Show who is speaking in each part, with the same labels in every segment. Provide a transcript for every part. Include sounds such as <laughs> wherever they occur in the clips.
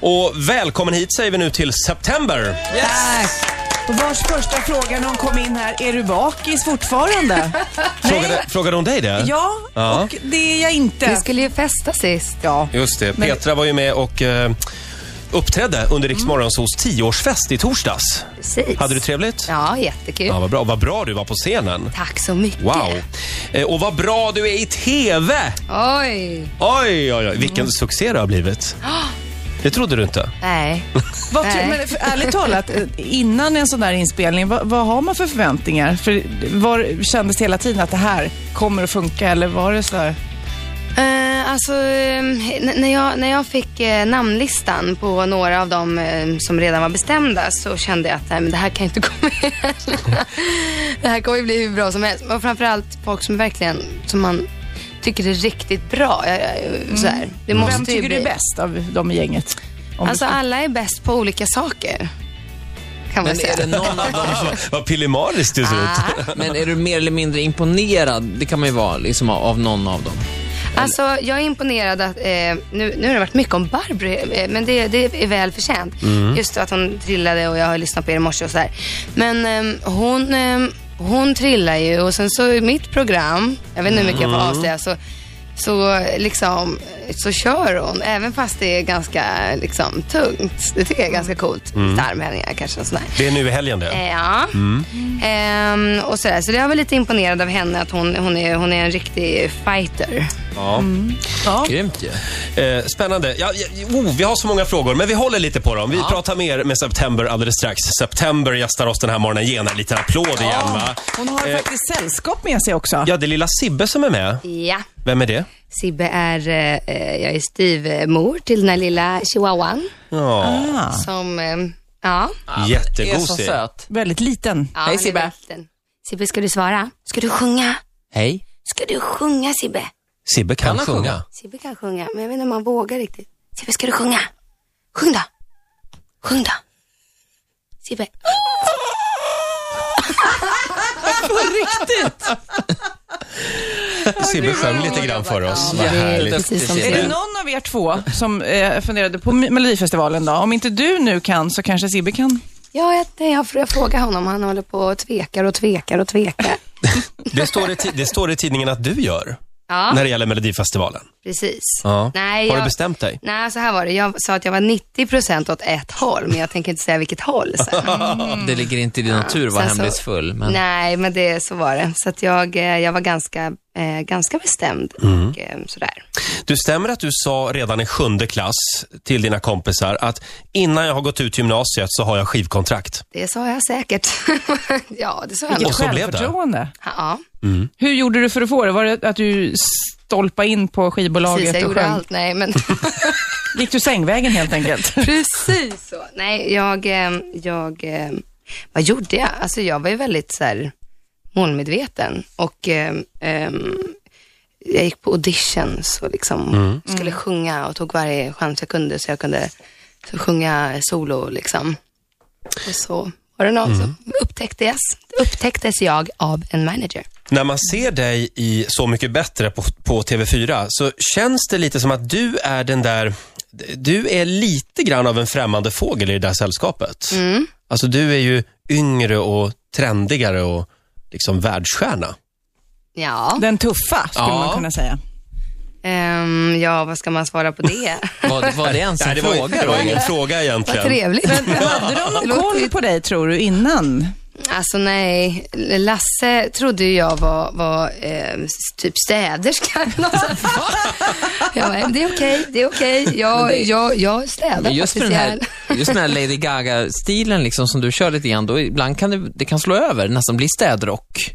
Speaker 1: Och välkommen hit säger vi nu till September.
Speaker 2: Tack. Och vars första fråga när hon kom in här, är du bakis fortfarande?
Speaker 1: Frågade, frågade hon dig det?
Speaker 2: <laughs> Ja,
Speaker 1: Ja.
Speaker 2: och det är jag inte.
Speaker 3: Vi skulle ju festa sist.
Speaker 2: Ja.
Speaker 1: Just det. Petra var ju med och eh, uppträdde under Rix Morgonzoos tioårsfest i torsdags.
Speaker 3: Precis.
Speaker 1: Hade du trevligt?
Speaker 3: Ja, jättekul.
Speaker 1: Ja, vad bra. Vad bra du var på scenen.
Speaker 3: Tack så mycket.
Speaker 1: Wow. Eh, och vad bra du är i TV!
Speaker 3: Oj.
Speaker 1: Oj, oj, oj. Vilken succé det har blivit. Det trodde du inte.
Speaker 3: Nej.
Speaker 2: Vad tror-
Speaker 3: Nej.
Speaker 2: men för, ärligt talat, eh, innan en sån där inspelning, vad, vad har man för förväntningar? För var, kändes det hela tiden att det här kommer att funka eller var det så här?
Speaker 3: Eh, alltså, eh, n- när, jag, när jag fick eh, namnlistan på några av dem eh, som redan var bestämda så kände jag att nej, men det här kan ju inte <laughs> komma igen. det här kommer ju bli hur bra som helst. Och framförallt folk som verkligen, som man tycker är riktigt bra. Jag- jag- Så här. Det måste
Speaker 2: Vem
Speaker 3: ju
Speaker 2: tycker du
Speaker 3: bli.
Speaker 2: är bäst av dem i gänget? Om
Speaker 3: Alltså
Speaker 2: du ska-
Speaker 3: alla är bäst på olika saker. Kan man
Speaker 4: Men
Speaker 3: säga.
Speaker 4: är,
Speaker 3: Ah.
Speaker 4: det någon av dem,
Speaker 1: Vad- Vad pillemariskt du ser ut.
Speaker 4: <laughs> men är du mer eller mindre imponerad, det kan man ju vara, liksom, av- av någon av dem?
Speaker 3: Alltså, jag är imponerad att, eh, nu, nu har det varit mycket om Barbro, eh, men det, det är väl förtjänt. Just att hon trillade och jag har lyssnat på er i morse och sådär. Men ehm, hon, ehm, hon trillar ju och sen så i mitt program, jag vet inte hur mycket jag får avslöja, så, så liksom, så kör hon. Även fast det är ganska liksom tungt. Det tycker jag är ganska coolt. Starmhävningar kanske och sådär.
Speaker 1: Det är nu i helgen det.
Speaker 3: Eh, Ja. Ehm, och sådär. Så jag var lite imponerad av henne att hon, hon, är, hon är en riktig fighter.
Speaker 1: Ja.
Speaker 2: ja.
Speaker 4: Grymt ju.
Speaker 1: Eh, spännande. Ja, ja, oh, vi har så många frågor, men vi håller lite på dem. Vi pratar mer med September alldeles strax. September gästar oss den här morgonen. Ge henne en liten applåd igen, va?
Speaker 2: Hon har faktiskt sällskap med sig också.
Speaker 1: Eh. Ja, det är lilla Sibbe som är med.
Speaker 3: Ja.
Speaker 1: Vem är det?
Speaker 3: Sibbe är, eh, eh, jag är styvmor till den här lilla chihuahuan
Speaker 1: Ja,
Speaker 3: som, eh, ja.
Speaker 4: Ah, Är så
Speaker 1: jättegosig.
Speaker 4: söt.
Speaker 2: Väldigt liten.
Speaker 3: ja
Speaker 4: Hej,
Speaker 3: han är
Speaker 4: Sibbe.
Speaker 3: väldigt liten. Sibbe, ska du svara? Ska du sjunga?
Speaker 4: Hej.
Speaker 3: Ska du sjunga Sibbe?
Speaker 1: Sibbe kan,
Speaker 4: Kan han
Speaker 1: sjunga.
Speaker 4: sjunga?
Speaker 3: Sibbe kan sjunga, men jag vet inte om han vågar riktigt. Sibbe, ska du sjunga? Sjung då. Sjung då. Sibbe.
Speaker 2: På riktigt!
Speaker 1: Sibbe sjöng lite grann för oss. Vad
Speaker 3: Ja, det är
Speaker 1: härligt.
Speaker 3: precis som
Speaker 4: Är
Speaker 2: Är
Speaker 3: Sibbe.
Speaker 2: det någon av er två som eh, funderade på Me- Melodifestivalen då? Om inte du nu kan så kanske Sibbe kan?
Speaker 3: Ja, jag, nej, jag, jag frågar honom. Han håller på och tvekar och tvekar och <laughs> tvekar.
Speaker 1: Det står, i, ti- det står i tidningen att du gör,
Speaker 4: Ah.
Speaker 3: Ja.
Speaker 1: när det gäller Melodifestivalen.
Speaker 3: Precis.
Speaker 1: Ja.
Speaker 3: Nej,
Speaker 1: Har du
Speaker 3: jag-
Speaker 1: bestämt dig?
Speaker 3: Nej, så här var det. Jag sa att jag var 90% åt ett håll, men jag tänker inte säga vilket håll
Speaker 1: <laughs>
Speaker 3: sen.
Speaker 4: Det ligger inte i din natur att vara
Speaker 3: Sen så-
Speaker 4: hemlighetsfull. Men...
Speaker 3: Nej, men det, så var det. Så att jag, eh, jag var ganska, eh, ganska bestämd
Speaker 1: Mm.
Speaker 3: och eh, sådär.
Speaker 1: Du stämmer att du sa redan i sjunde klass till dina kompisar att innan jag har gått ut gymnasiet så har jag skivkontrakt.
Speaker 3: Det sa jag säkert. <laughs> ja, det sa jag nog.
Speaker 1: Och så blev det.
Speaker 2: Självförtroende.
Speaker 3: Ja,
Speaker 2: Hur gjorde du för att få det? Var det att du stolpa in på
Speaker 3: precis. Jag
Speaker 2: skivbolaget och
Speaker 3: gjorde
Speaker 2: sjöng?
Speaker 3: allt.
Speaker 1: <laughs>
Speaker 3: Nej, men
Speaker 2: Gick du sängvägen helt enkelt?
Speaker 3: <laughs> precis så. Nej, jag, eh, jag, eh, vad gjorde jag? Alltså jag var ju väldigt så här målmedveten och eh, ehm, jag gick på auditions och liksom skulle sjunga och tog varje chans jag kunde så jag kunde så sjunga solo liksom. Och så var det någon som upptäcktes, upptäcktes jag av en manager.
Speaker 1: När man ser dig i Så mycket bättre på, på TV4 så känns det lite som att du är den där, du är lite grann av en främmande fågel i det där sällskapet.
Speaker 3: Mm.
Speaker 1: Alltså du är ju yngre och trendigare och liksom världsstjärna.
Speaker 4: Alltså,
Speaker 3: Ja,
Speaker 2: Den tuffa skulle
Speaker 1: Ja.
Speaker 2: man kunna säga.
Speaker 3: ehm, ja vad ska man svara på det?
Speaker 4: Var, var
Speaker 1: <laughs>
Speaker 4: det ens en
Speaker 1: det var,
Speaker 4: fråga
Speaker 1: det
Speaker 4: då?
Speaker 1: var ingen fråga
Speaker 3: vad
Speaker 1: egentligen.
Speaker 3: trevligt.
Speaker 2: Hade
Speaker 3: <laughs>
Speaker 2: de någon koll på dig tror du innan?
Speaker 3: Alltså nej, Lasse trodde ju jag var, var eh, typ städerska eller något sånt. Jag bara, det är okej, det är okej. Jag, jag, jag städar
Speaker 4: Men just, för den här,
Speaker 3: faktiskt
Speaker 4: just den här Lady Gaga-stilen liksom, som du kör lite grann, då ibland kan det, det kan slå över, nästan bli städrock.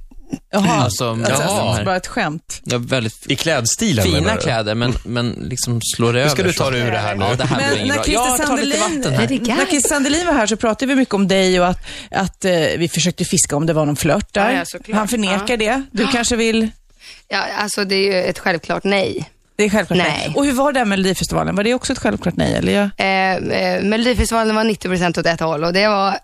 Speaker 2: Jaha,
Speaker 4: Alltså,
Speaker 2: alltså,
Speaker 4: jaha.
Speaker 2: alltså, bara ett skämt.
Speaker 4: Ja, väldigt
Speaker 1: I klädstilen menar
Speaker 4: fina
Speaker 1: du?
Speaker 4: kläder, men, men liksom slår över.
Speaker 1: ska du ta
Speaker 4: så-
Speaker 1: dig ur det här nu.
Speaker 4: Ja, det här blir
Speaker 2: Men
Speaker 4: inget
Speaker 2: när
Speaker 4: bra.
Speaker 2: Christer,
Speaker 4: Jag tar lite
Speaker 2: Sandelin,
Speaker 4: vatten här.
Speaker 3: Det är
Speaker 2: när Christer Sandelin var här så pratade vi mycket om dig och att, att eh, vi försökte fiska om det var någon flört där.
Speaker 3: Ja, ja, såklart.
Speaker 2: Han förnekar det. Du kanske vill...
Speaker 3: Ja, alltså det är ju ett självklart nej.
Speaker 2: Det är självklart nej.
Speaker 3: Nej.
Speaker 2: Och hur var det här med Melodifestivalen? Var det också ett självklart nej? Eller? jag-
Speaker 3: Eh, eh, Melodifestivalen var 90% åt ett håll och det var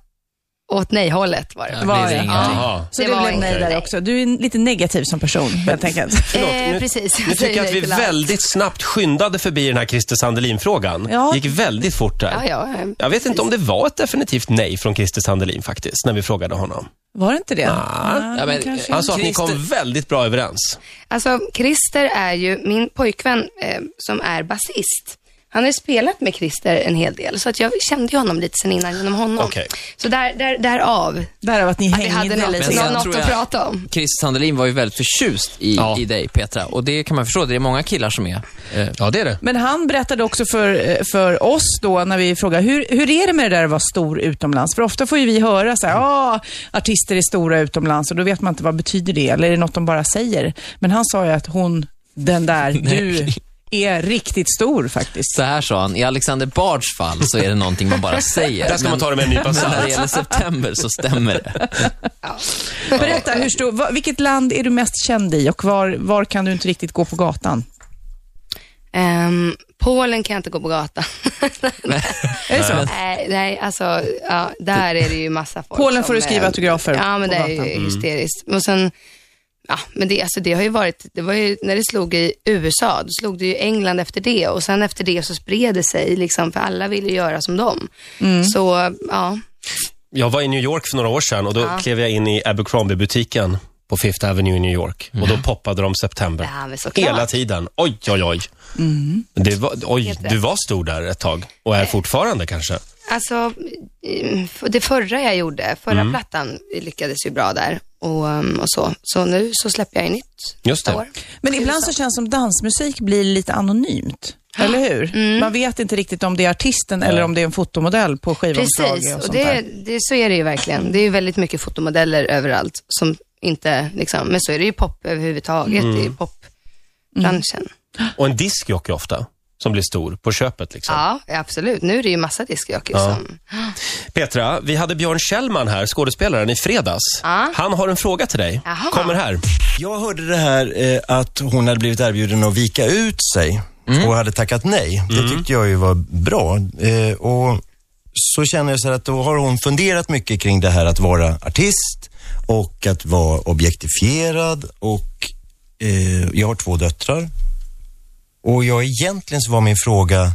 Speaker 3: åt nej-hållet var det.
Speaker 4: Det
Speaker 2: Var
Speaker 4: blir
Speaker 2: jag?
Speaker 4: ingenting.
Speaker 1: Jaha.
Speaker 2: Så
Speaker 3: Det
Speaker 2: det,
Speaker 3: var
Speaker 2: blev nej
Speaker 3: inte-
Speaker 2: där också. Du är lite negativ som person
Speaker 4: <laughs>
Speaker 2: helt enkelt.
Speaker 1: Förlåt,
Speaker 3: Eh, precis.
Speaker 1: Nu
Speaker 3: Jag <laughs> säger
Speaker 1: tycker jag att vi
Speaker 3: nej till allt.
Speaker 1: väldigt snabbt skyndade förbi den här Christer Sandelin-frågan.
Speaker 2: Ja.
Speaker 1: gick väldigt fort där.
Speaker 3: Ja, ja. eh,
Speaker 1: Jag vet inte om det var ett definitivt nej från Christer Sandelin faktiskt, när vi frågade honom.
Speaker 2: Var det inte det?
Speaker 4: Ja, men,
Speaker 2: kanske.
Speaker 1: Han sa Alltså, att ni
Speaker 4: Christer-
Speaker 1: kom väldigt bra överens.
Speaker 3: Alltså, Christer är ju min pojkvän eh, som är basist. Han har ju spelat med Christer en hel del, så att jag kände ju honom lite sen innan genom honom.
Speaker 1: Okej.
Speaker 3: Så där, där, därav,
Speaker 2: Därav att ni
Speaker 3: att vi hade
Speaker 2: hängde
Speaker 3: något,
Speaker 2: lite.
Speaker 4: sen
Speaker 3: något,
Speaker 4: någon-
Speaker 2: grann.
Speaker 3: något
Speaker 4: tror
Speaker 3: att
Speaker 4: jag-
Speaker 3: prata om.
Speaker 4: Chris Sandelin var ju väldigt förtjust i,
Speaker 1: Ja.
Speaker 4: i dig, Petra. Och det kan man förstå. Det är många killar som är. Eh,
Speaker 1: Ja, det är det.
Speaker 2: Men han berättade också för, eh, för oss då när vi frågade, hur, hur är det med det där att vara stor utomlands? För ofta får ju vi höra så här, ah, artister är stora utomlands och då vet man inte vad betyder det eller är det något de bara säger? Men han sa ju att hon, den där, du är riktigt stor faktiskt.
Speaker 4: så här sa han, i Alexander Bards fall så är det någonting man bara
Speaker 1: <laughs>
Speaker 4: säger.
Speaker 1: Där ska man
Speaker 4: Men-
Speaker 1: ta det med en nypa
Speaker 4: men när
Speaker 1: salt.
Speaker 4: det gäller september så stämmer
Speaker 1: <laughs>
Speaker 4: det.
Speaker 2: Berätta, hur stor, va, vilket land är du mest känd i och var, var kan du inte riktigt gå på gatan?
Speaker 3: Ehm, Polen kan jag inte gå på gatan.
Speaker 2: Är det så? <laughs>
Speaker 3: nej, nej, alltså, ja, där är det ju massa folk.
Speaker 2: Polen får
Speaker 3: som,
Speaker 2: du skriva
Speaker 3: eh,
Speaker 2: autografer
Speaker 3: Ja, men
Speaker 2: på
Speaker 3: det är ju
Speaker 2: gatan. Mm.
Speaker 3: hysteriskt. Och sen, ja, men det, alltså, det har ju varit, det var ju när det slog i USA, då slog det ju England efter det och sen efter det så spred det sig, liksom, för alla ville ju göra som dem.
Speaker 2: Mm.
Speaker 3: Så, ja.
Speaker 1: Jag var i New York för några år sedan och då klev jag in i Abercrombie-butiken på Fifth Avenue i New York och då poppade de September.
Speaker 3: Ja, men såklart.
Speaker 1: Hela tiden. Oj, oj, oj. Men Det var, oj,
Speaker 3: Helt rätt. Eh.
Speaker 1: du var stor där ett tag och är fortfarande kanske.
Speaker 3: Alltså, mm, det förra jag gjorde, förra
Speaker 2: Mm.
Speaker 3: plattan lyckades ju bra där och, um, och så. Så nu så släpper jag ju nytt
Speaker 1: Just det.
Speaker 3: år.
Speaker 2: Men ibland så känns det som dansmusik blir lite anonymt. Eller hur?
Speaker 3: Mm.
Speaker 2: Man vet inte riktigt om det är artisten eller om det är en fotomodell på
Speaker 3: Precis,
Speaker 2: skivomslaget och
Speaker 3: och
Speaker 2: sånt
Speaker 3: det,
Speaker 2: där.
Speaker 3: det, så är det ju verkligen. Det är ju väldigt mycket fotomodeller överallt som inte, liksom, men så är det ju pop överhuvudtaget
Speaker 2: Mm.
Speaker 3: i popbranschen.
Speaker 1: Och en diskjockey ofta, som blir stor på köpet. Liksom.
Speaker 3: Ja, absolut. Nu är det ju massa diskjockeys som...
Speaker 1: Petra, vi hade Björn Kjellman här, skådespelaren, i fredags.
Speaker 3: Ja.
Speaker 1: Han har en fråga till dig.
Speaker 3: Jaha.
Speaker 1: Kommer här.
Speaker 5: Jag hörde det här eh, att hon hade blivit erbjuden att vika ut sig och hade tackat nej. Det tyckte jag ju var bra. Eh, och så känner jag så här att då har hon funderat mycket kring det här att vara artist och att vara objektifierad och eh, jag har två döttrar. Och jag egentligen så var min fråga,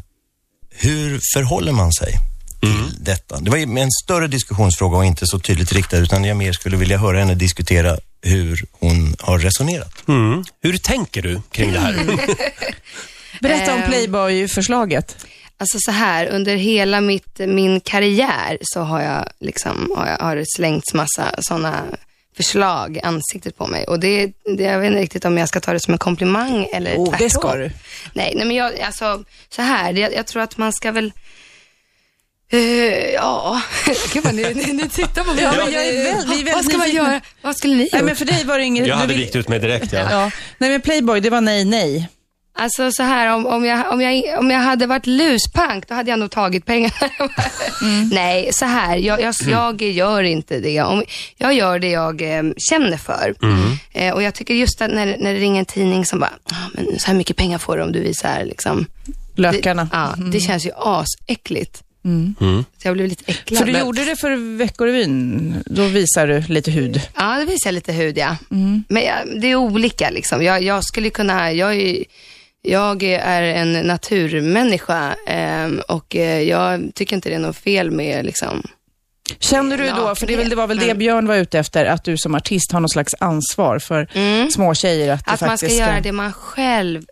Speaker 5: hur förhåller man sig till detta? Det var ju en större diskussionsfråga och inte så tydligt riktad utan jag mer skulle vilja höra henne diskutera hur hon har resonerat.
Speaker 1: Mm. Hur tänker du kring det
Speaker 3: <laughs>
Speaker 1: här?
Speaker 2: Berätta
Speaker 3: ehm,
Speaker 2: om Playboy-förslaget.
Speaker 3: Alltså så här, under hela mitt, min karriär så har jag liksom, har, jag, har det slängts massa sådana förslag i ansiktet på mig. Och det, det, jag vet inte riktigt om jag ska ta det som en komplimang eller
Speaker 2: Oh, det
Speaker 3: tvärtom.
Speaker 2: ska du.
Speaker 3: Nej, nej men jag, alltså så här, det, jag tror att man ska väl Eh, ja, gud vad ni, ni, ni tittar på mig.
Speaker 2: Ja, men jag är väl- vi är väldigt
Speaker 3: vad ska man
Speaker 2: nyfikna.
Speaker 3: göra? Vad skulle ni
Speaker 2: Nej,
Speaker 3: gjort?
Speaker 2: men för dig var det inget...
Speaker 1: Jag
Speaker 2: du
Speaker 1: hade
Speaker 2: vill-
Speaker 1: vikt ut mig direkt. Ja.
Speaker 2: Ja. Nej, men Playboy, det var nej, nej.
Speaker 3: Alltså så här, om, om, jag, om, jag, om jag hade varit luspank, då hade jag nog tagit pengarna. <laughs>
Speaker 2: Mm.
Speaker 3: Nej, så här, jag, jag, jag gör inte det. Om, jag gör det jag eh, känner för.
Speaker 2: Mm.
Speaker 3: Eh, och jag tycker just att när, när det ringer en tidning som bara, ah, men så här mycket pengar får du om du visar liksom.
Speaker 2: Lökarna.
Speaker 3: Det, ja,
Speaker 2: Mm.
Speaker 3: det känns ju asäckligt.
Speaker 1: Mm.
Speaker 3: Så jag blev lite äcklad.
Speaker 2: För du
Speaker 3: men-
Speaker 2: gjorde det för Veckorevyn. Då visar du lite hud.
Speaker 3: Ja, det visar lite hud ja. Men jag, det är olika liksom. Jag, jag skulle kunna, jag är, jag är en naturmänniska ehm, och eh, jag tycker inte det är något fel med liksom.
Speaker 2: Känner du då,
Speaker 3: Nakenhet,
Speaker 2: för det, är väl- det var väl det
Speaker 3: men-
Speaker 2: Björn var ute efter, att du som artist har någon slags ansvar för små tjejer att, det
Speaker 3: Mm. Att man ska
Speaker 2: faktiskt
Speaker 3: göra det man själv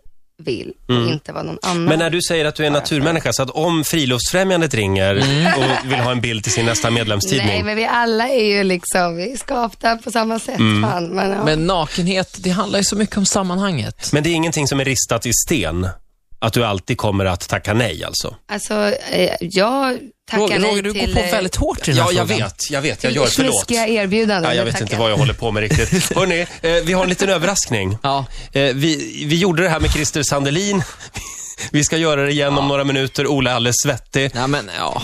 Speaker 3: vill och inte vad någon annan.
Speaker 1: Men när du säger att du är en naturmänniska, så att om Friluftsfrämjandet ringer och vill ha en bild till sin nästa medlemstidning.
Speaker 3: Mm. Nej, men vi alla är ju liksom, vi är skapta på samma sätt. Fan, men, ja.
Speaker 4: Men nakenhet, det handlar ju så mycket om sammanhanget.
Speaker 1: Men det är ingenting som är ristat i sten? Att du alltid kommer att tacka nej alltså?
Speaker 3: alltså, eh, jag tackar
Speaker 4: Roger,
Speaker 3: nej
Speaker 4: Roger, du
Speaker 3: till...
Speaker 4: går på
Speaker 3: eh,
Speaker 4: väldigt hårt i den här frågan.
Speaker 1: jag vet,
Speaker 3: Snuskiga erbjudanden.
Speaker 1: Ja, jag
Speaker 3: det
Speaker 1: vet inte
Speaker 3: tackar
Speaker 1: vad jag håller på med
Speaker 3: <laughs>
Speaker 1: riktigt. Hörrni, eh, vi har en liten överraskning.
Speaker 4: Ja.
Speaker 1: Eh, vi, vi gjorde det här med Christer Sandelin. <laughs> Vi ska göra det igen om några minuter. Ola är alldeles svettig.
Speaker 4: Nej, men ja.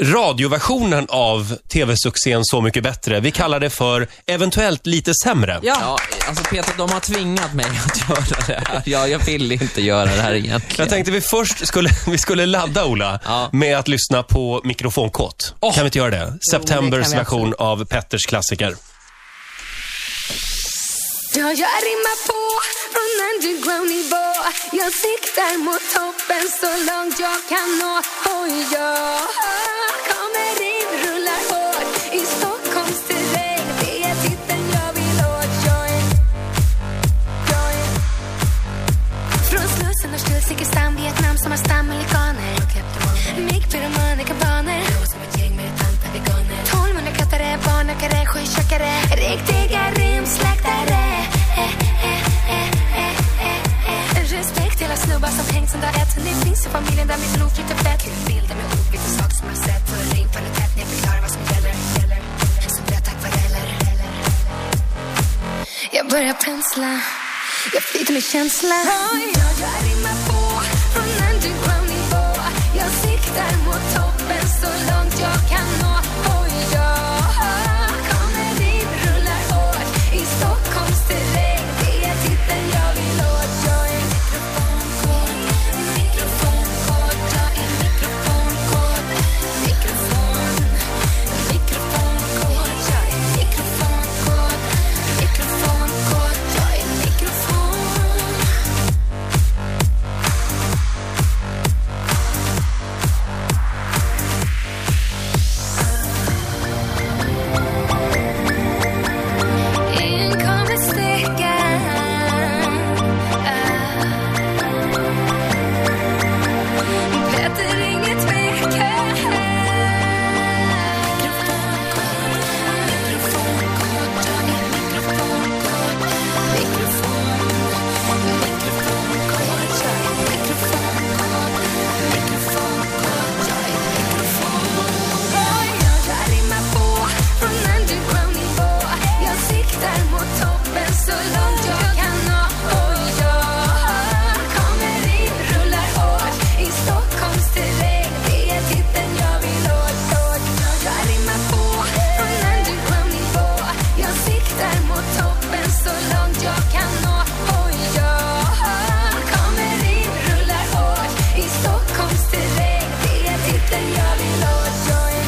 Speaker 1: Radioversionen av tv-succén Så mycket bättre. Vi kallar det för eventuellt lite sämre.
Speaker 2: Ja.
Speaker 4: ja. Alltså Peter, de har tvingat mig att göra det här. Jag, jag vill inte göra det här egentligen.
Speaker 1: Jag tänkte vi först skulle, <laughs> vi skulle ladda Ola
Speaker 4: Ja.
Speaker 1: med att lyssna på Mikrofonkåt.
Speaker 4: Åh.
Speaker 1: Kan vi inte göra det? Septembers
Speaker 6: vi
Speaker 1: version av Petters klassiker.
Speaker 6: Ja, jag rimmar på från underground nivå Jag siktar mot toppen så långt jag kan nå Och jag kommer in, rullar hårt i Stockholms terräng Det är titeln jag vill åt Jag är, jag är Från Slussen och till Zinkensdamm Vietnam, sommarstam, amerikaner Mikpyromaner, kubaner 1200 kattare, barnökare, sjötjockare Riktiga rimslaktare Eh, eh, eh, eh, eh, eh. Respekt till alla snubbar som hängt sedan dag ett Ni finns i familjen där mitt blod flyter fett Till bilder med ord, lite saker som jag sett Och rim faller tätt när jag förklarar vad som gäller gäller. Så blöta akvareller jag börjar pensla Jag flyter med känsla Oj, ja, jag rimmar på Från underground nivå Jag siktar mot toppen Så långt jag kan nå Oj, jag kommer dit Rullar hårt i Stockholms terräng Det är titeln jag vill åt Jag är mikrofonkort Mikrofonkort Jag är mikrofonkort Mikrofon Mikrofonkort Jag är mikrofonkort Mikrofonkort Jag är mikrofon In kommer stickan Petter, ingen tvekan Mikrofonkort, jag är mikrofonkort Mikrofon, mikrofonkort Jag är mikrofonkort Mikrofonkort, jag är mikrofon Oj, oj, jag rimmar på från underground nivå Jag siktar mot toppen så långt jag kan nå Och jag kommer in, rullar hårt i Stockholms terräng Det är titeln jag vill åt, åt Jag rimmar på från underground nivå Jag siktar mot toppen så långt jag kan nå Och jag kommer in, rullar hårt i Stockholms terräng Det är titeln jag vill åt, jag är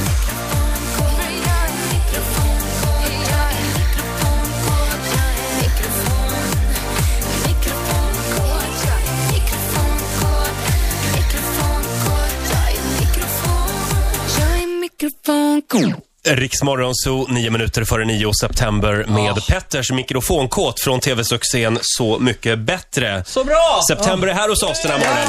Speaker 1: Riksmorgonzoo, nio minuter före nio september med Petters mikrofonkåt från tv-succén Så mycket bättre.
Speaker 4: Så bra!
Speaker 1: September är här hos oss den här morgonen.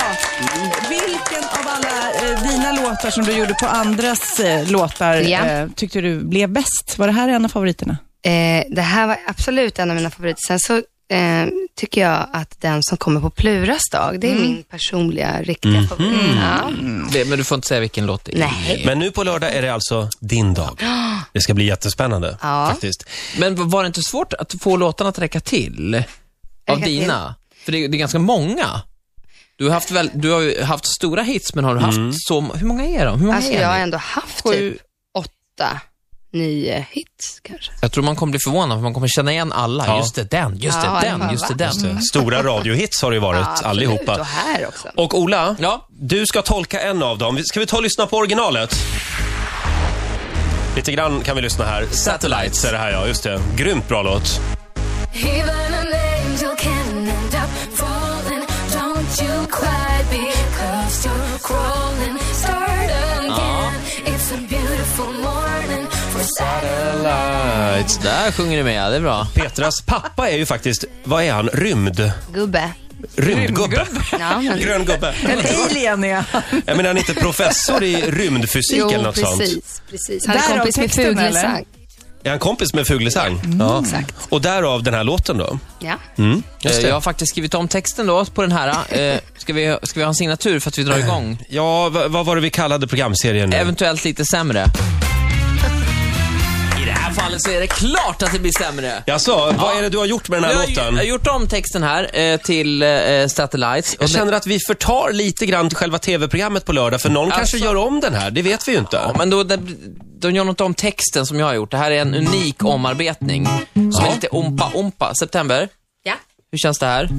Speaker 2: Vilken av alla eh, dina låtar som du gjorde på andras eh, låtar
Speaker 6: Ja.
Speaker 2: eh, tyckte du blev bäst? Var det här en av favoriterna?
Speaker 6: Eh, det här var absolut en av mina favoriter. Sen så eh, tycker jag att den som kommer på Pluras dag, det
Speaker 1: Mm.
Speaker 6: är min personliga riktiga
Speaker 1: Mhm.
Speaker 6: favorit. Ja.
Speaker 4: Det, men du får inte säga vilken låt det är.
Speaker 6: Nej.
Speaker 1: Men nu på lördag är det alltså din dag. Det ska bli jättespännande
Speaker 6: Ja.
Speaker 1: faktiskt.
Speaker 4: Men v- var det inte svårt att få låtarna att räcka till? Av
Speaker 6: Räcka till?
Speaker 4: dina? För det, det är ganska många. Du har, haft väl, du har ju haft stora hits, men har du haft
Speaker 1: Mm.
Speaker 4: så... Hur många är de? Hur många
Speaker 6: Alltså
Speaker 4: är
Speaker 6: jag har
Speaker 4: ni?
Speaker 6: ändå haft
Speaker 4: Sju.
Speaker 6: typ åtta, nio hits kanske.
Speaker 4: jag tror man kommer bli förvånad, för man kommer känna igen alla.
Speaker 1: Ja.
Speaker 4: Just det, den, just det,
Speaker 6: Ja,
Speaker 4: den,
Speaker 6: va?
Speaker 4: just det, den.
Speaker 1: Så,
Speaker 6: Mm.
Speaker 1: Stora radiohits har det ju varit
Speaker 6: absolut.
Speaker 1: allihopa.
Speaker 6: Och här också.
Speaker 1: Och Ola,
Speaker 4: Ja.
Speaker 1: du ska tolka en av dem. Ska vi ta och lyssna på originalet? Lite grann kan vi lyssna här. Satellites är det här ja, just det. Grymt bra låt.
Speaker 7: Even an angel can end up falling. Don't you cry because you're crawling. Start again. It's a beautiful morning for Saturday.
Speaker 4: Lights. Där sjunger du med, det är bra.
Speaker 1: Petras pappa är ju faktiskt, vad är han? Rymd...
Speaker 6: Gubbe.
Speaker 1: Rymdgubbe. <laughs>
Speaker 6: Ja, men...
Speaker 1: Grön gubbe.
Speaker 2: Alien är
Speaker 1: Jag menar, han är inte professor i rymdfysik
Speaker 6: Jo,
Speaker 1: eller något sånt?
Speaker 6: precis, precis. Han är
Speaker 2: Därav
Speaker 6: kompis med
Speaker 2: texten, eller?
Speaker 6: Fuglesang.
Speaker 1: Är han kompis med Fuglesang? ja.
Speaker 6: Exakt.
Speaker 1: Och därav den här låten då?
Speaker 6: Ja.
Speaker 1: Mm, just
Speaker 4: Eh, Jag har
Speaker 1: det.
Speaker 4: faktiskt skrivit om texten då på den här. Eh, Ska vi, ska vi ha en signatur för att vi drar igång?
Speaker 1: Ja, <laughs> va- vad var det vi kallade programserien nu?
Speaker 4: Eventuellt lite sämre. I det här fallet så är det klart att det blir sämre.
Speaker 1: Jaså, vad är det du har gjort med den
Speaker 4: Jag
Speaker 1: här
Speaker 4: har,
Speaker 1: låten?
Speaker 4: jag har gjort om texten här eh, till eh, Satellites. Och
Speaker 1: Jag
Speaker 4: den-
Speaker 1: känner att vi förtar lite grann till själva tv-programmet på lördag, för någon kanske gör om den här. Det vet vi ju inte.
Speaker 4: Ja, men då, de, de gör något om texten som jag har gjort. Det här är en unik omarbetning. Som är lite ompa-ompa. September,
Speaker 3: Ja.
Speaker 4: hur känns det här?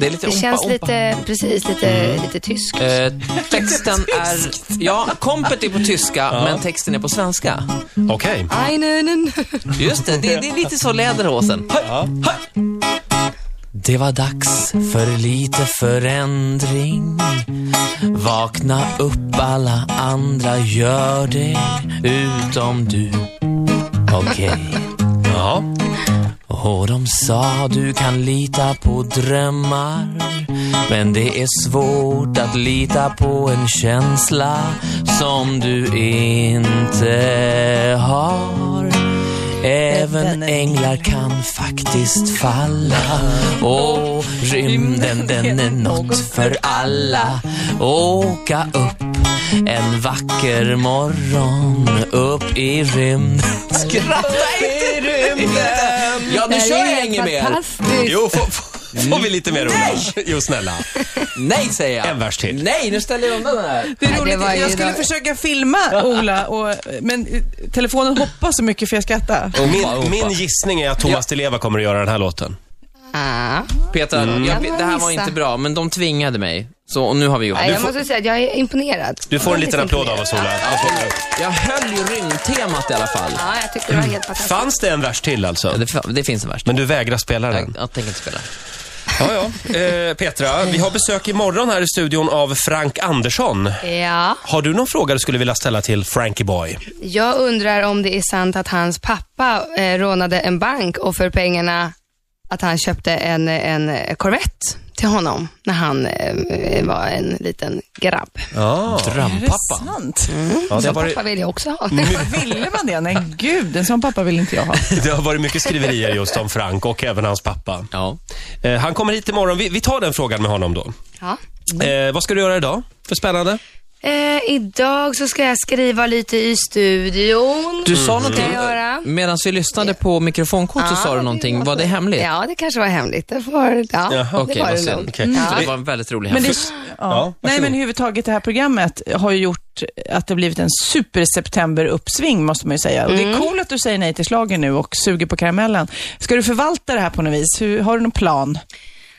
Speaker 4: Det är lite
Speaker 3: Det
Speaker 4: ompa-ompa.
Speaker 3: känns lite, precis, lite,
Speaker 1: Mm.
Speaker 3: lite tyskt.
Speaker 4: Eh,
Speaker 3: <laughs>
Speaker 4: texten är... Ja, kompet är på tyska, men texten är på svenska.
Speaker 1: Okej.
Speaker 3: Einen.
Speaker 4: Just det, det, det är lite så Läderhosen. Hej, hej. Det var dags för lite förändring. Vakna upp alla andra, gör det utom du. Okej.
Speaker 1: Ja.
Speaker 4: Och de sa du kan lita på drömmar Men det är svårt att lita på en känsla som du inte har Även änglar kan faktiskt falla Och rymden den är något för alla Åka upp en vacker morgon Upp i rymden Skratta inte! Ja, nu kör jag inget mer.
Speaker 3: Fantastiskt.
Speaker 1: Jo, får, får- får vi lite mer Ola? Jo, snälla.
Speaker 4: Nej, säger jag.
Speaker 1: En vers till.
Speaker 4: Nej, nu ställer jag undan den här.
Speaker 2: Det är
Speaker 3: Nej, det
Speaker 2: roligt.
Speaker 3: var ju
Speaker 2: jag skulle
Speaker 3: då-
Speaker 2: försöka filma Ola, och, men eh, telefonen hoppar så mycket för jag skrattar.
Speaker 1: Min, min gissning är att Thomas Di Leva kommer att göra den här låten.
Speaker 3: Ah.
Speaker 4: Peter, jag,
Speaker 3: Kan man
Speaker 4: det här var
Speaker 3: gissa?
Speaker 4: inte bra, men de tvingade mig. Så och nu har vi gjort
Speaker 3: Nej,
Speaker 4: det.
Speaker 3: jag måste säga att jag är imponerad.
Speaker 1: Du får en
Speaker 3: Väldigt
Speaker 1: liten
Speaker 6: liksom
Speaker 1: applåd av
Speaker 3: imponerad.
Speaker 1: oss, Ola.
Speaker 4: Jag höll ju rymdtemat i alla fall.
Speaker 3: Ja, jag tyckte det var helt fantastiskt.
Speaker 1: Fanns det en vers till alltså?
Speaker 4: Ja, Det, fa- det finns en värst.
Speaker 1: Men du vägrar spela den?
Speaker 4: Jag, jag tänker inte spela.
Speaker 1: Ja, ja. Eh, Petra, vi har besök imorgon här i studion av Frank Andersson.
Speaker 3: Ja,
Speaker 1: Har du någon fråga du skulle vilja ställa till Frankie Boy?
Speaker 3: jag undrar om det är sant att hans pappa eh, rånade en bank och för pengarna att han köpte en, en eh, Corvette till honom när han eh, var en liten grabb.
Speaker 1: Ja,
Speaker 2: Är det
Speaker 4: Drömpappa.
Speaker 2: sant?
Speaker 1: ja det, har
Speaker 3: Så
Speaker 1: varit,
Speaker 3: pappa vill jag också
Speaker 4: Mm.
Speaker 3: ha.
Speaker 2: Ville man det? Nej, gud, en sån pappa vill inte jag ha.
Speaker 1: <laughs> det har varit mycket skriverier just om Frank och även hans pappa.
Speaker 4: Ja.
Speaker 1: Eh, han kommer hit imorgon. Vi, vi tar den frågan med honom då.
Speaker 3: Ja. Mm.
Speaker 1: Eh, vad ska du göra idag för spännande?
Speaker 3: Eh, idag så ska jag skriva lite i studion.
Speaker 4: Du sa någonting,
Speaker 3: Ska jag göra?
Speaker 4: Mm. medan vi lyssnade på mikrofonkort så
Speaker 3: Ja,
Speaker 4: sa du någonting. Var det hemligt?
Speaker 3: Ja, det kanske var hemligt. Det, får, ja,
Speaker 1: Jaha,
Speaker 4: Okej,
Speaker 3: det var
Speaker 4: vad
Speaker 3: det
Speaker 4: synd. Mm.
Speaker 3: nog.
Speaker 1: Okej.
Speaker 4: Så Det
Speaker 1: Vi-
Speaker 4: var en väldigt rolig
Speaker 2: Men det,
Speaker 4: hemlis.
Speaker 2: ja. Nej,
Speaker 1: varsågod.
Speaker 2: men överhuvudtaget det här programmet har ju gjort att det blivit en super-september-uppsving, måste man ju säga. Och
Speaker 3: Mm.
Speaker 2: det är coolt att du säger nej till slagen nu och suger på karamellen. Ska du förvalta det här på något vis? Hur, har du någon plan?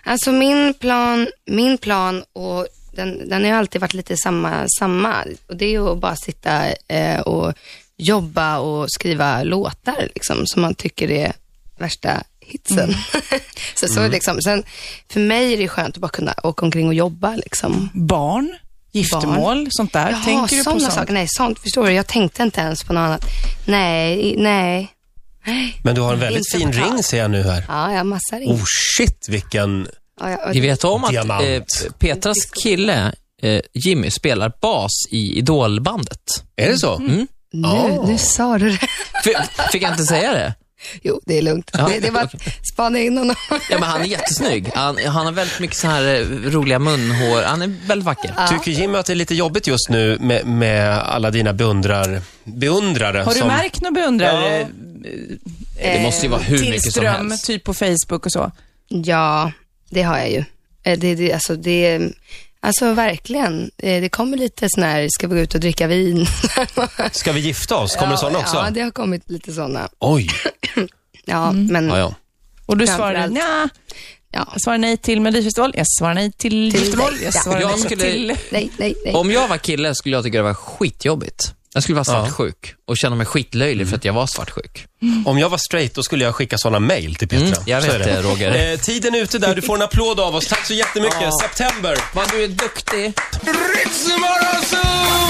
Speaker 3: Alltså min plan, min plan och den, den har ju alltid varit lite samma, samma. Och det är ju att bara sitta eh, och jobba och skriva låtar liksom, som man tycker är värsta hitsen.
Speaker 2: Mm.
Speaker 3: <laughs> så, så liksom. Sen, för mig är det skönt att bara kunna åka omkring och jobba liksom.
Speaker 2: Barn? Giftermål? Sånt där?
Speaker 3: Jaha,
Speaker 2: Tänker du på
Speaker 3: sådana
Speaker 2: sånt?
Speaker 3: saker. Nej, sånt. Förstår du? Jag tänkte inte ens på något annat. Nej, nej.
Speaker 1: Men du har en väldigt
Speaker 3: Inte
Speaker 1: fin
Speaker 3: betalt.
Speaker 1: ring ser jag nu här.
Speaker 3: Ja, jag har massa ring.
Speaker 1: Oh shit, vilken...
Speaker 3: Ja, jag-
Speaker 4: Ni vet om att
Speaker 1: Diamant.
Speaker 4: eh, Petras kille, eh, Jimmy, spelar bas i Idolbandet. <laughs>
Speaker 1: Är det så?
Speaker 3: Mm. nu, nu sa du det. <laughs>
Speaker 4: F- fick jag inte säga det?
Speaker 3: Jo, det är lugnt.
Speaker 4: Ja,
Speaker 3: det, det var att spana in honom.
Speaker 4: Ja, men han är jättesnygg. Han, han har väldigt mycket så här eh, roliga munhår. Han är väldigt vacker.
Speaker 1: Tycker Jimmy att det är lite jobbigt just nu med, med alla dina beundrar, beundrare?
Speaker 2: Har du
Speaker 1: som...
Speaker 2: märkt någon beundrare?
Speaker 4: Det måste
Speaker 2: eh,
Speaker 4: ju vara hur mycket som
Speaker 2: Tillström,
Speaker 4: helst.
Speaker 2: typ på Facebook och så.
Speaker 3: Ja, det har jag ju. Eh, Det, det, alltså, det, alltså verkligen. Eh, Det kommer lite sån här, ska vi gå ut och dricka vin?
Speaker 1: Ska vi gifta oss? Kommer det sådana också?
Speaker 3: <laughs> Ja, det har kommit lite sådana.
Speaker 1: Oj.
Speaker 3: Ja, men
Speaker 1: Ja, ja.
Speaker 2: Och du svarade
Speaker 3: Framförallt.
Speaker 2: nja,
Speaker 3: ja.
Speaker 2: jag svarar nej till Melodifestival, jag svarar nej till,
Speaker 3: Till
Speaker 2: giftermål,
Speaker 3: dig,
Speaker 2: jag
Speaker 3: ja.
Speaker 2: svarar
Speaker 4: Jag
Speaker 2: nej
Speaker 4: skulle-
Speaker 2: till...
Speaker 3: Nej, nej, nej.
Speaker 4: Om jag var kille skulle jag tycka det var skitjobbigt. Jag skulle vara svartsjuk och känna mig skitlöjlig för att jag var svartsjuk.
Speaker 3: Mm.
Speaker 1: Om jag var straight, då skulle jag skicka sådana mail till Petra.
Speaker 4: Mm, jag
Speaker 1: Så
Speaker 4: vet
Speaker 1: är
Speaker 4: det, Roger.
Speaker 1: Eh, tiden är ute där. Du får en applåd av oss. Tack så jättemycket. September.
Speaker 4: Vad du är duktig.
Speaker 8: Ritzmorgonzoo!